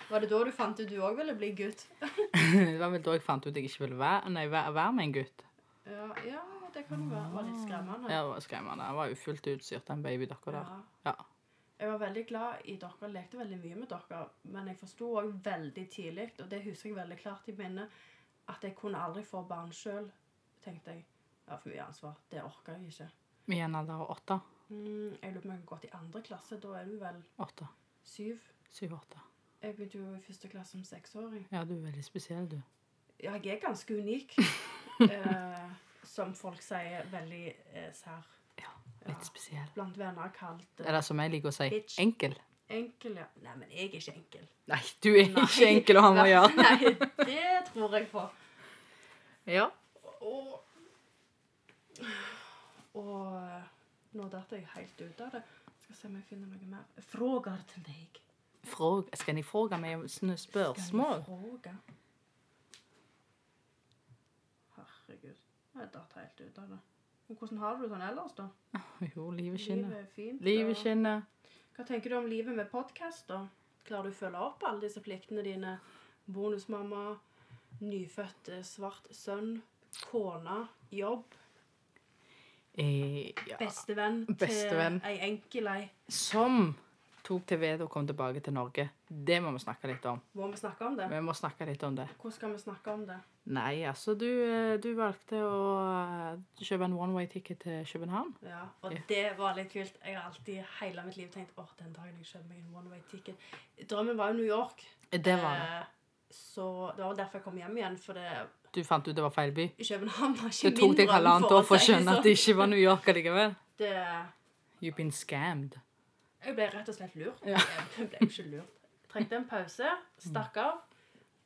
Var det da du fant ut du òg ville bli gutt?
Det var vel da jeg fant ut jeg ikke ville være, nei, væ- være med en gutt.
Ja, ja det kan jo være. Var litt skremmende.
Jeg var skremmende. Jeg var jo fullt utstyrt, den babydokka der.
Ja.
Ja.
Jeg var veldig glad i dere, lekte veldig mye med dere, men jeg forsto òg veldig tidlig, og det husker jeg veldig klart i minnet, at jeg kunne aldri få barn sjøl, tenkte jeg. Jeg har for mye ansvar. Det orker jeg ikke.
I en alder av åtte.
Mm, jeg lurer på om jeg har gått i andre klasse. Da er du vel
Åtte.
syv?
Syv-åtte.
Jeg begynte jo i første klasse som seksåring.
Ja, du er veldig spesiell, du.
Ja, jeg er ganske unik. eh, som folk sier, veldig eh, sær.
Ja,
Ja.
litt spesiell.
Blant venner kalt eh,
Eller som jeg liker å si
Bitch.
enkel.
enkel, ja. Nei, men jeg er ikke enkel.
Nei, du er
Nei.
ikke enkel å ha med å gjøre.
Nei, det tror jeg på.
Ja.
Og, og Nå datt jeg helt ut av det. Skal se om jeg finner noe mer. Frågar til meg.
Fråg, skal ni fråga meg om sånne
Skal
spørsmål?
du fråga? Herregud. Jeg datt helt ut av det. Men hvordan har du det sånn ellers, da?
Jo, livet skinner.
Livet er fint.
Livet
og-
skinner.
Hva tenker du om livet med podkast, da? Klarer du å følge opp alle disse pliktene dine? Bonusmamma, nyfødt eh, svart sønn, kone, jobb,
Eh, ja.
bestevenn
Bestevenn.
til ei enkel ei.
Som tok til ved og kom tilbake til Norge. Det må vi snakke litt om.
Må vi snakke om det?
Vi må snakke litt om det.
Hvordan skal vi snakke om det?
Nei, altså, du, eh, du valgte å eh, kjøpe en one-way-ticket til København.
Ja, og
Ja.
det var litt kult. Jeg har alltid hele mitt liv tenkt åh, den dagen jeg kjøper meg en one-way-ticket. Drømmen var jo New York.
Det var det.
Eh, Så det var derfor jeg kom hjem igjen, for det,
Du fant ut det var feil by.
København var ikke
Det tok
min
deg
drøm.
halvannet år for å
si det
skjønne at det ikke var New York allikevel.
sånn. Det-
You've been scammed.
Jeg ble rett og slett lurt.
Ja.
Jeg ble jo ikke lurt. Trengte en pause, stakk av.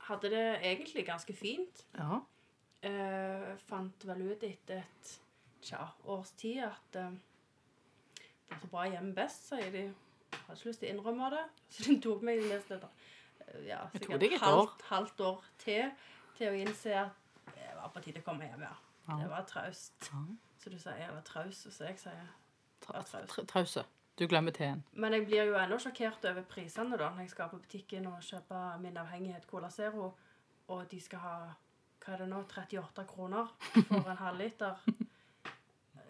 Hadde det egentlig ganske fint.
Ja.
Eh, fant vel ut etter et tja, års tid at eh, det er så bra hjemme best, sier de. Jeg hadde ikke lyst til å innrømme det, så de tok meg nesten et eh, ja,
Det tok
sikkert
deg et år.
halvt, halvt år til til å innse at det var på tide å komme hjem, ja.
Ja.
Det var traust.
Ja.
Så du sier eller traus, og så jeg sier
Tra- tra- tra- Trause. Du glemmer T-en.
Men jeg blir jo ennå sjokkert over prisene da, når jeg skal på butikken og kjøpe min avhengighet Cola Zero, og de skal ha hva er det nå, 38 kroner for en halvliter.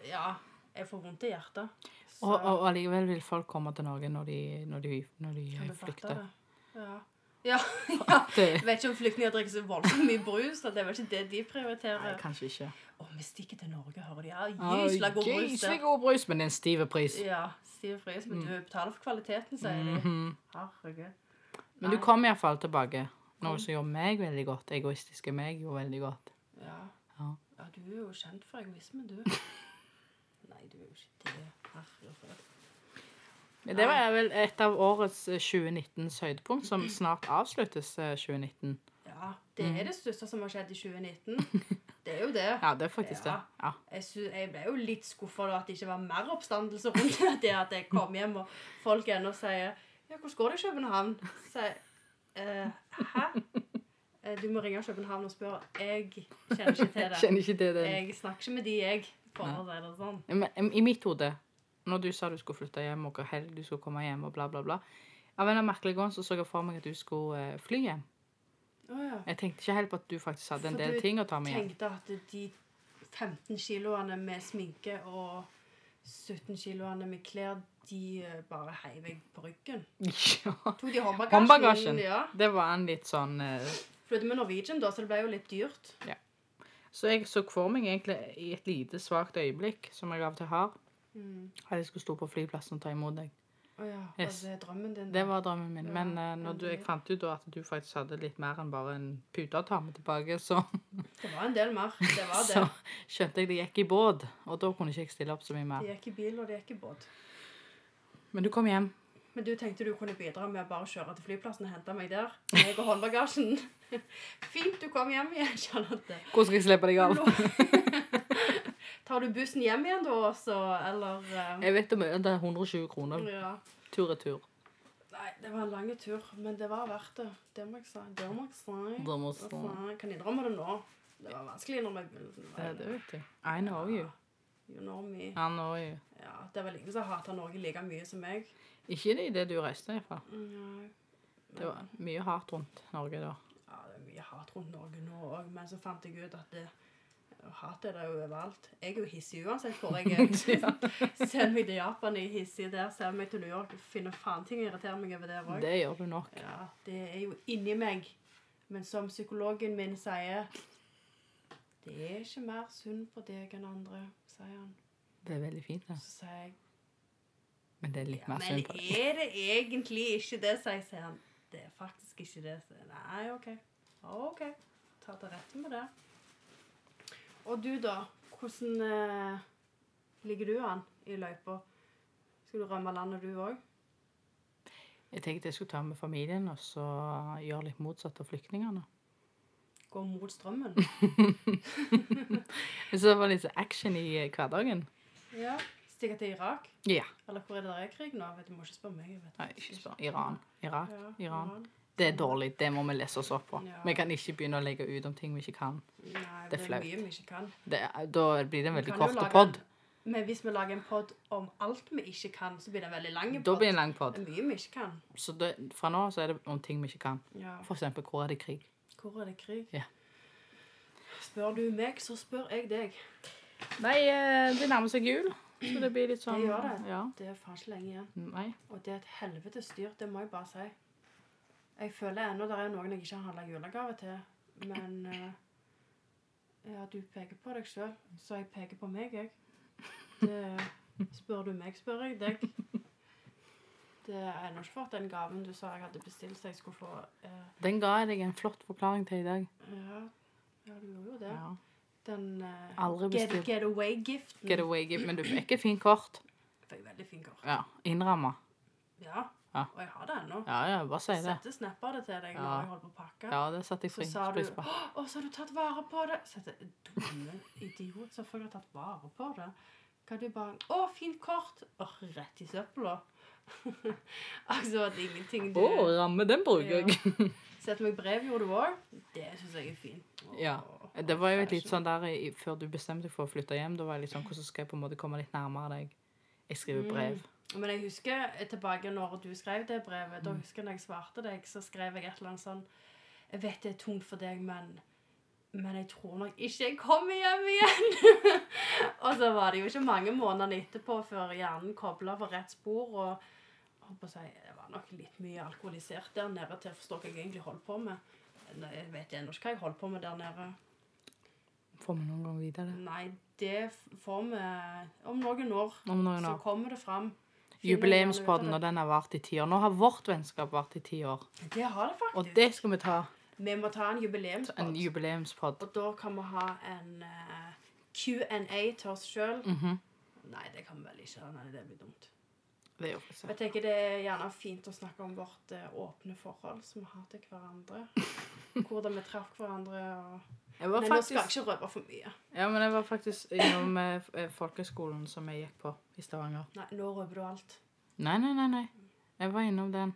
Ja, jeg får vondt i hjertet. Så
Og, og, og allikevel vil folk komme til Norge når de, når de, når de
kan
eh,
du fatte
flykter.
det? Ja. Ja, ja.
Det,
Jeg vet ikke om flyktninger drikker så voldsomt mye brus, at det er vel ikke det de
nei,
prioriterer.
kanskje ikke.
Å, vi stikker til Norge, hører de. Ja, gysla god
Oi,
brus.
gysla
der.
god brus, men det er en stiv pris.
Ja, sier Frøys, men du betaler for kvaliteten, sier de.
Mhm.
Herregud.
Men du
Nei.
kom iallfall tilbake.
Mm.
Noe som gjorde meg veldig godt. Egoistiske meg gjorde veldig godt.
Ja.
Ja.
Ja, du er jo kjent for egoisme, du. Nei, du er jo ikke det. Herregud.
Men det var vel et av årets eh, 2019s høydepunkt, som snart avsluttes eh, 2019.
Ja, det er det største som har skjedd i 2019. Det er jo det.
Ja, det er faktisk
Ja.
det. Ja.
Jeg, sy jeg ble jo litt skuffa da at det ikke var mer oppstandelse rundt det at jeg kom hjem, og folk ennå sier Ja, hvordan går det i København? Sier eh, Hæ? Eh, Du må ringe København og spørre. Jeg kjenner ikke til det.
Kjenner ikke til det.
Jeg snakker ikke med de, jeg. For å si det sånn.
Men, em, I mitt hode, når du sa du skulle flytte hjem, og hvor helg du skulle komme hjem, og bla, bla, bla Av en eller annen merkelig grunn så så jeg for meg at du skulle eh, fly hjem.
Å ja.
Jeg tenkte ikke helt på at du faktisk hadde en
For
del
du
ting å ta med hjem.
tenkte at de 15 kiloene med sminke og 17 kiloene med klær, de eh, bare heiv jeg på ryggen.
Ja.
Tok de håndbagasjen?
Håndbagasjen.
Ja.
Det var en litt sånn eh,
Flyttet med Norwegian, da, så det ble jo litt dyrt.
Så jeg så for meg egentlig i et lite svakt øyeblikk, som jeg av og til har,
Mm.
at jeg skulle stå på flyplassen og ta imot deg.
Å ja, var
Yes.
det drømmen din?
Det var drømmen min.
Ja,
Men eh, når du, jeg
endelig.
fant ut da at du faktisk hadde litt mer enn bare en pute å ta med tilbake, så,
det var en del mer. Det var det.
så skjønte jeg det gikk i båt. Og da kunne ikke jeg stille opp så mye mer.
Det gikk i bil, og det gikk i båt.
Men du kom hjem.
Men du tenkte du kunne bidra med å bare kjøre til flyplassen og hente meg der? Jeg og håndbagasjen. Fint du kom hjem igjen, Charlotte.
Hvor skal jeg slippe deg av?
Tar du bussen hjem igjen da også, eller eh,
Jeg vet om det er 120 kroner
Ja.
tur-retur.
Nei, det var en lang tur, men det var verdt det. Det må jeg si. Det må jeg si.
Da må
Det
jeg-
må jeg si. Kan innrømme det nå. Det var vanskelig når jeg
Ja, det vet jeg. I know you.
You know me.
I know you.
Ja, det er vel ingen som hater Norge like mye som meg. Mm,
Ikke det i det du reiste, i hvert fall.
Nei.
Det var mye hardt rundt Norge da.
Ja, det er mye hat rundt Norge nå òg, men så fant jeg ut at det Hat er det jo overalt. Jeg er jo hissig uansett hvor jeg er. Send meg til Japan, jeg er hissig der. Send meg til New York, finner faen ting å irritere meg over der òg.
Det gjør du nok.
Ja, det er jo inni meg. Men som psykologen min sier Det er ikke mer synd på deg enn andre, sier han.
Det er veldig fint, det.
Så sier jeg
Men det er litt
ja,
mer
Men
synd på deg.
er det egentlig ikke det, sier jeg, sier han. Det er faktisk ikke det. sier jeg. Nei, OK. OK. Ta til rette med det. Og du, da? Hvordan eh, ligger du an i løypa? Skal du rømme landet, du òg?
Jeg tenkte jeg skulle ta med familien og så gjøre litt motsatt av flyktningene.
Gå mot strømmen?
Så det var litt action i eh, hverdagen.
Ja, Stikke til Irak?
Ja.
Eller hvor er det der er krig nå? Jeg vet, du må ikke spørre meg. Jeg vet.
Nei, ikke spør. Iran. Irak.
Ja,
Iran. Det er dårlig. Det må vi lese oss opp på.
Ja.
Vi kan ikke begynne å legge ut om ting vi ikke kan.
Nei,
Det er
det er
flaut.
mye vi ikke kan.
Det, er- da blir det en
Vi
veldig
kan jo
kort
lage
pod.
en- Men hvis vi lager en pod om alt vi ikke kan, så blir det en veldig lang
Da
pod.
blir det
Det
en lang pod.
er mye vi ikke kan.
Så det, fra nå så er det om ting vi ikke kan.
Ja.
For eksempel, hvor er det krig?
Hvor er det krig?
Ja.
Spør du meg, så spør jeg deg.
Nei, eh, det nærmer seg jul. Så det blir litt sånn
Det gjør det.
Ja.
Det er faen ikke lenge igjen.
Nei.
Og det er et helvetes styr, det må jeg bare si. Jeg føler ennå det er noen jeg ikke har handla julegave til, men eh, Ja, du peker på deg sjøl, så jeg peker på meg, jeg. Det spør du meg, spør jeg deg. Det er ennå ikke fått den gaven du sa jeg hadde bestilt, så jeg skulle få eh,
Den ga jeg deg en flott forklaring til i dag.
ja, ja, Mm. du gjorde jo det.
Ja.
Den eh,
Aldri
get,
bestilt.
getaway-giften.
Getaway gift, men du fikk et fint kort.
Fikk veldig fin kort.
Ja. Innramma.
Ja.
Ja.
Og jeg har det ennå.
Ja, ja, bare si det.
Sette snapper av det til deg når
Ja.
jeg holder på å pakke.
Ja, det satte jeg
Så
pris
sa du
pris på.
'Å, så har du tatt vare på det?' Så jeg dumme idiot, selvfølgelig har jeg tatt vare på det. Kan du bare 'Å, fint kort.' Åh, rett i søpla. altså, det er ingenting du
Å, ramme, den bruker jeg.
Sett meg brev gjorde du òg. Det syns jeg er fint. Åh,
Ja. Det var jo et litt sånn der i, før du bestemte deg for å flytte hjem. Da var jeg litt sånn Hvordan skal jeg på en måte komme litt nærmere deg? Jeg
Mm.
skriver brev.
Men jeg husker tilbake når du skrev det brevet.
Mm.
Da husker jeg når jeg svarte deg, så skrev jeg et eller annet sånn Jeg vet det er tungt for deg, men men jeg tror nok ikke jeg kommer hjem igjen. og så var det jo ikke mange månedene etterpå før hjernen kobla på rett spor. Og jeg holdt på å si, jeg var nok litt mye alkoholisert der nede til å forstå hva jeg egentlig holdt på med. Nei, Jeg vet ennå ikke hva jeg holdt på med der nede.
Får vi noen gang vite det?
Nei, det f- får vi om noen år.
Om noen
Så
år.
kommer det fram. Finner
Jubileumspodden,
gjerne
og
ut av
den har vart i ti år. Nå har vårt vennskap vart i ti år.
det. Det har det faktisk.
Og det skal vi ta.
Vi må ta en
En
jubileumspod.
jubileumspod.
og da kan vi ha en eh, Q&A til oss sjøl.
Mhm.
Nei, det kan vi vel ikke. Nei, det blir dumt.
Det gjør vi så.
Jeg tenker Det er gjerne fint å snakke om vårt eh, åpne forhold som vi har til hverandre. Hvordan vi traff hverandre. Og...
Jeg var
Men nå skal jeg
faktisk,
ikke røpe for mye.
ja, men jeg var faktisk innom eh, f- eh, folkeskolen som jeg gikk på i Stavanger.
Nei, Nå røper du alt.
Nei, nei, nei. nei. Jeg var innom den.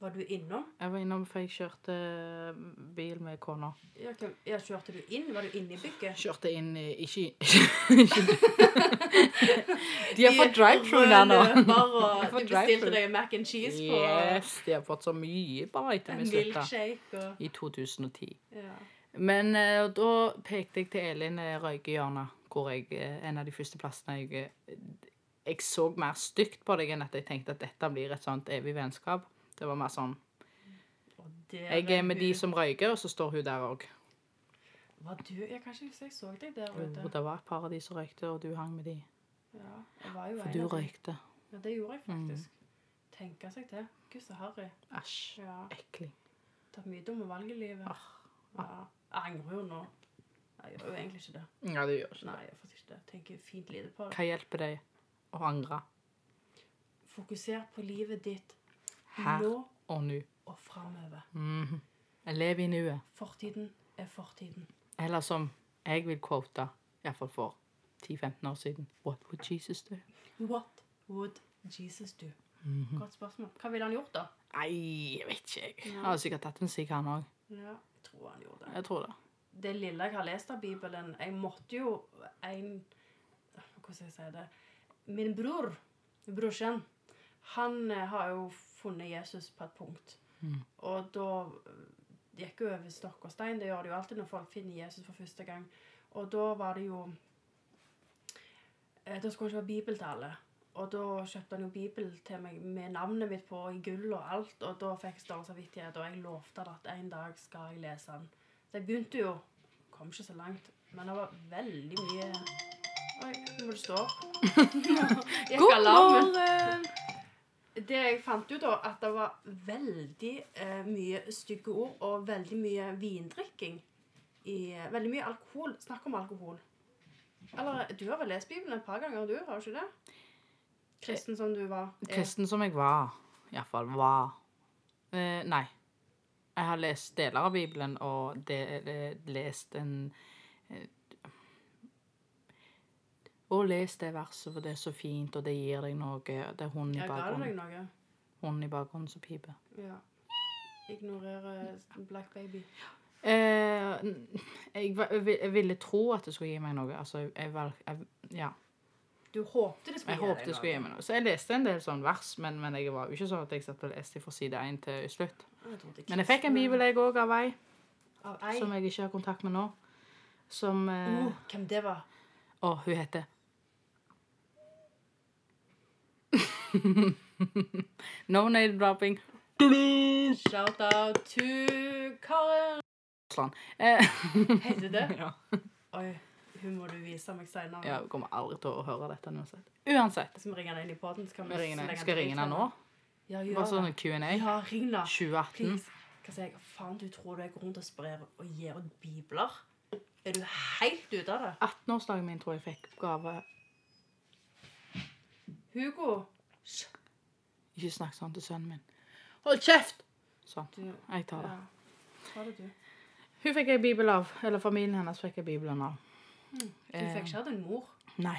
Var du innom?
Jeg var innom for jeg kjørte eh, bil med kona.
Ja, hvem- ja, Kjørte du inn? Var du inne i bygget?
Kjørte inn i Ikke De har fått drive-through der nå.
Røde løper, og
får
Du
drive-thru.
bestilte deg mac and cheese på
Yes, de har fått så mye bare etter
en
vi slutta.
milkshake og
I 2010.
ja.
Men eh, og da pekte jeg til Elin eh, Røygehjørnet, hvor jeg eh, En av de første plassene jeg eh, Jeg så mer stygt på deg enn at jeg tenkte at dette blir et sånt evig vennskap. Det var mer sånn
Og der
Jeg er med de
hun.
som røyker, og så står hun der òg.
Var du Jeg kan ikke huske jeg så deg der
Og
ute.
det var et par av de som røykte, og du hang med de.
Ja, jeg var jo
For
en
du Mm.
av de.
røykte.
Ja, det gjorde jeg faktisk. Tenke seg til. Gud, så harry.
Æsj.
Ja.
Ekling.
Tatt mye dumme valg i livet.
Ah.
Ja. Jeg angrer jo nå. Jeg gjør jo egentlig ikke det.
Ja, du gjør ikke
Nei, jeg gjør sånn. faktisk ikke det. Tenker fint lite på det.
Hva hjelper det å angre
Fokuser på livet ditt
her
nå
og nå?
og framover.
Mhm. Lev i nuet.
Fortiden er fortiden.
Eller som jeg vil quote, iallfall for 10-15 år siden What would Jesus do?
What would Jesus do?
Mhm.
Godt spørsmål. Hva ville han gjort, da?
Nei, jeg vet ikke, jeg.
Ja.
Han har sikkert tatt en sigg, han òg.
Ja, jeg tror han gjorde det.
Jeg tror det.
det lille jeg har lest av Bibelen Jeg måtte jo en Hvordan skal jeg si det? Min bror, brorsan, han eh, har jo funnet Jesus på et punkt.
Mm.
Og da eh, gikk jo over stokk og stein. Det gjør det jo alltid når folk finner Jesus for første gang. Og da var det jo eh, Da skulle han kjøpe bibel til alle. Og da kjøpte han jo bibel til meg med navnet mitt på i gull og alt. Og da fikk jeg større samvittighet, og jeg lovte at en dag skal jeg lese den. Så jeg begynte jo Kom ikke så langt. Men det var veldig mye Oi, nå må du stå opp. Gikk
God
alarmen.
morgen!
Det jeg fant ut, da, at det var veldig eh, mye stygge ord og veldig mye vindrikking. I, eh, veldig mye alkohol. Snakk om alkohol. Eller du har vel lest Bibelen et par ganger, du? Har du ikke det? Kristen som du var. eh, er.
Kristen som jeg var, iallfall var eh, Nei. Jeg har lest deler av Bibelen, og de, eh, lest en eh, Og les det verset, for det er så fint, og det gir deg noe. Det er hunden i
Jeg ga
bakgrunnen,
deg noe.
hunden i bakgrunnen som piper.
Ja. Ignorere Black Baby.
Eh, n- jeg, va- jeg vil- jeg ville tro at det skulle gi meg noe. Altså, jeg, valg- jeg, ja.
Du håpte det skulle
jeg håpet det skulle gi meg noe. Så jeg leste en del sånn vers, men, men jeg var jo ikke sånn at jeg satt og leste fra side 1 til slutt.
noe.
Men jeg fikk en bibel jeg òg, av ei
Av ei.
som jeg ikke har kontakt med nå. Som eh,
Oh, hvem det var?
Å, hun heter No name dropping.
Shout-out to Karen.
Sånn. Eh,
Heter det?
ja.
Oi, hun må du vise meg senere.
ja, hun kommer aldri til å høre dette uansett. Uansett.
Hvis vi ringer henne inn i poden, så kan vi
Vi ringer henne.
slenge
Skal jeg
den
ringe henne nå?
til. Ja, gjør
Bare
det.
sånn Q&A.
Ja, ring da.
2018.
Please. Hva sier jeg? Faen, du tror du er grunn til å spre og gi ut bibler? Er du helt ute av det?
18-årsdagen min tror jeg fikk gave.
Hugo,
Ikke snakk sånn til sønnen min. Hold kjeft! Sånn.
du
Jeg tar det.
Ja. Ta det, du.
Hun fikk ei bibel av. Eller familien hennes fikk ei bibel av.
Du
Eh.
fikk ikke hatt en mor.
Nei.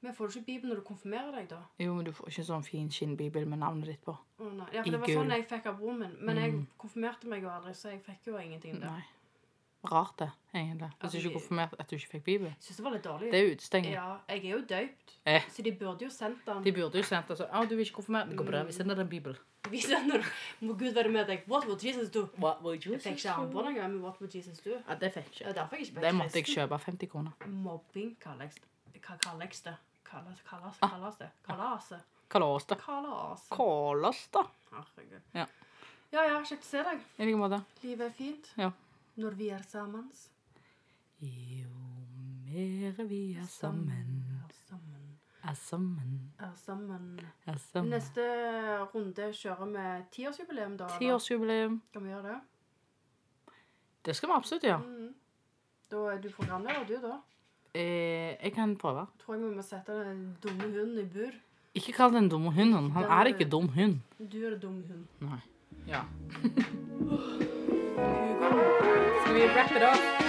Men får du ikke bibel når du konfirmerer deg, da?
Jo, men du får ikke sånn fin skinnbibel med navnet ditt på.
Å, nei. Ja, for
I
det var
gull.
sånn jeg fikk av broren min. Men jeg
Mm.
konfirmerte meg jo aldri, så jeg fikk jo ingenting der.
Nei. Rart det, egentlig.
At
Hvis ikke
de-
konfirmert at du ikke fikk bibel.
Jeg synes det var litt dårlig.
Det er utestenging.
Ja, jeg er jo døypt,
Eh.
så de burde jo sendt den.
De burde jo sendt altså, Å, du vil ikke konfirmere? Det går bra, vi sender deg en bibel.
Vi sender den. Må Gud være med deg. What would Jesus do?
What would you
Jeg fikk ikke arm på den engang, men what would Jesus do?
Ja, det fikk
Det
jeg
er
ikke.
derfor jeg ikke ble
Det måtte jeg
kristen.
kjøpe 50 kroner.
Mobbing kaller jeg det. Hva kaller jeg det? Kalles, kalles,
Ah.
kalles det. Kalles det.
Kalas, da.
Kalles.
Kalas, da.
Herregud.
Ja.
Ja, ja, kjekt å se deg.
I like måte.
Livet er fint.
Ja.
Når vi er sammen.
Jo mer vi er sammen,
Er sammen.
er sammen,
Er sammen.
er sammen.
Neste runde kjører vi tiårsjubileum, da. eller?
Tiårsjubileum.
Kan vi gjøre det?
Det skal vi absolutt gjøre.
Mm. Da er du programleder, du, da.
Eh, jeg kan prøve.
Tror jeg vi må sette den dumme hunden i bur.
Ikke kall den dumme hunden. Han er ikke dum hund.
Du er en dum hund.
Nei. Ja.
Hugo.
Skal vi rappe det opp?